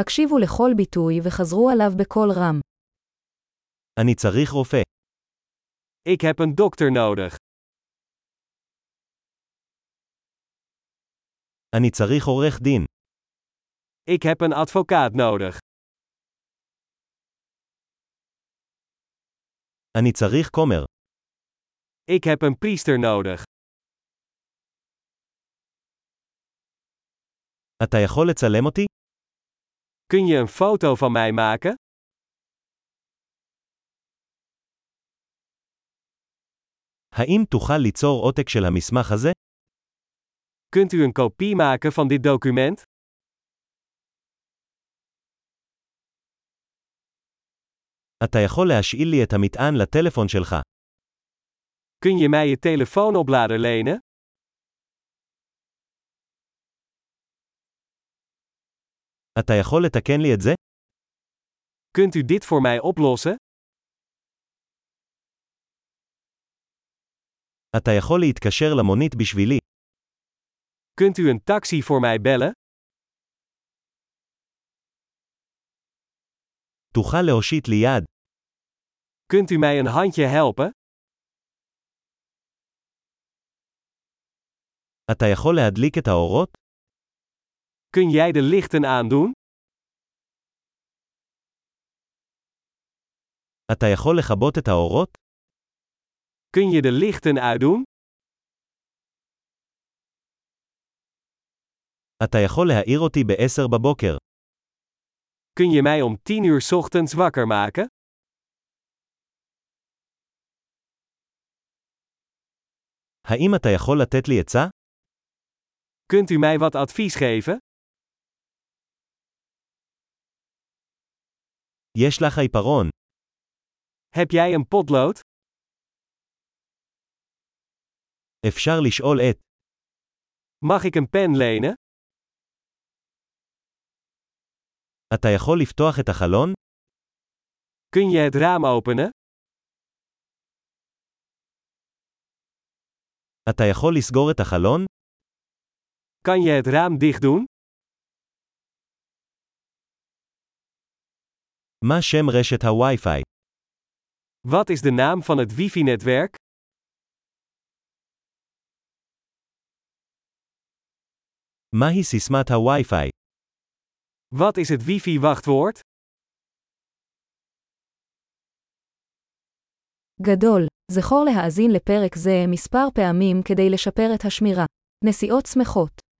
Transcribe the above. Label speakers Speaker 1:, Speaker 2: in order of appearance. Speaker 1: הקשיבו לכל ביטוי וחזרו עליו בקול רם.
Speaker 2: אני צריך רופא.
Speaker 3: Ik heb een dokter nodig.
Speaker 2: אני צריך עורך דין.
Speaker 3: Ik heb een advocaat nodig.
Speaker 2: אני צריך כומר.
Speaker 3: Ik heb een priester nodig.
Speaker 2: אתה יכול לצלם אותי?
Speaker 3: Kun je een foto van mij maken?
Speaker 2: האם תוכל ליצור עותק של המסמך הזה?
Speaker 3: Kunt u een kopie maken van dit document?
Speaker 2: אתה יכול להשאיל לי את המטען לטלפון שלך.
Speaker 3: Kun je mij je telefoonoplader lenen?
Speaker 2: אתה יכול לתקן לי את זה?
Speaker 3: Kunt u dit voor mij oplossen?
Speaker 2: אתה יכול להתקשר למונית בשבילי.
Speaker 3: Kunt u een taxi voor mij bellen?
Speaker 2: תוכל להושיט לי יד.
Speaker 3: Kunt u mij een handje helpen?
Speaker 2: אתה יכול להדליק את האורות?
Speaker 3: Kun jij de lichten aandoen?
Speaker 2: אתה יכול לכבות את האורות?
Speaker 3: Kun je de lichten uitdoen?
Speaker 2: אתה יכול להעיר אותי ב-10 בבוקר.
Speaker 3: Kun je mij om 10 uur 's ochtends wakker maken?
Speaker 2: האם אתה יכול לתת לי עצה?
Speaker 3: Kunt u mij wat advies geven?
Speaker 2: יש לך עיפרון.
Speaker 3: Heb jij een potlood?
Speaker 2: אפשר לשאול את.
Speaker 3: Mag ik een pen lenen?
Speaker 2: אתה יכול לפתוח את החלון?
Speaker 3: Kun je het raam openen?
Speaker 2: אתה יכול לסגור את החלון?
Speaker 3: Kan je het raam dicht doen?
Speaker 2: מה שם רשת הווי-פיי?
Speaker 3: Wat is de naam van het wifi-netwerk?
Speaker 2: מהי סיסמת הווי-פיי?
Speaker 3: Wat is het wifi-wachtwoord?
Speaker 1: גדול, זכור להאזין לפרק זה מספר פעמים כדי לשפר את השמירה. נסיעות שמחות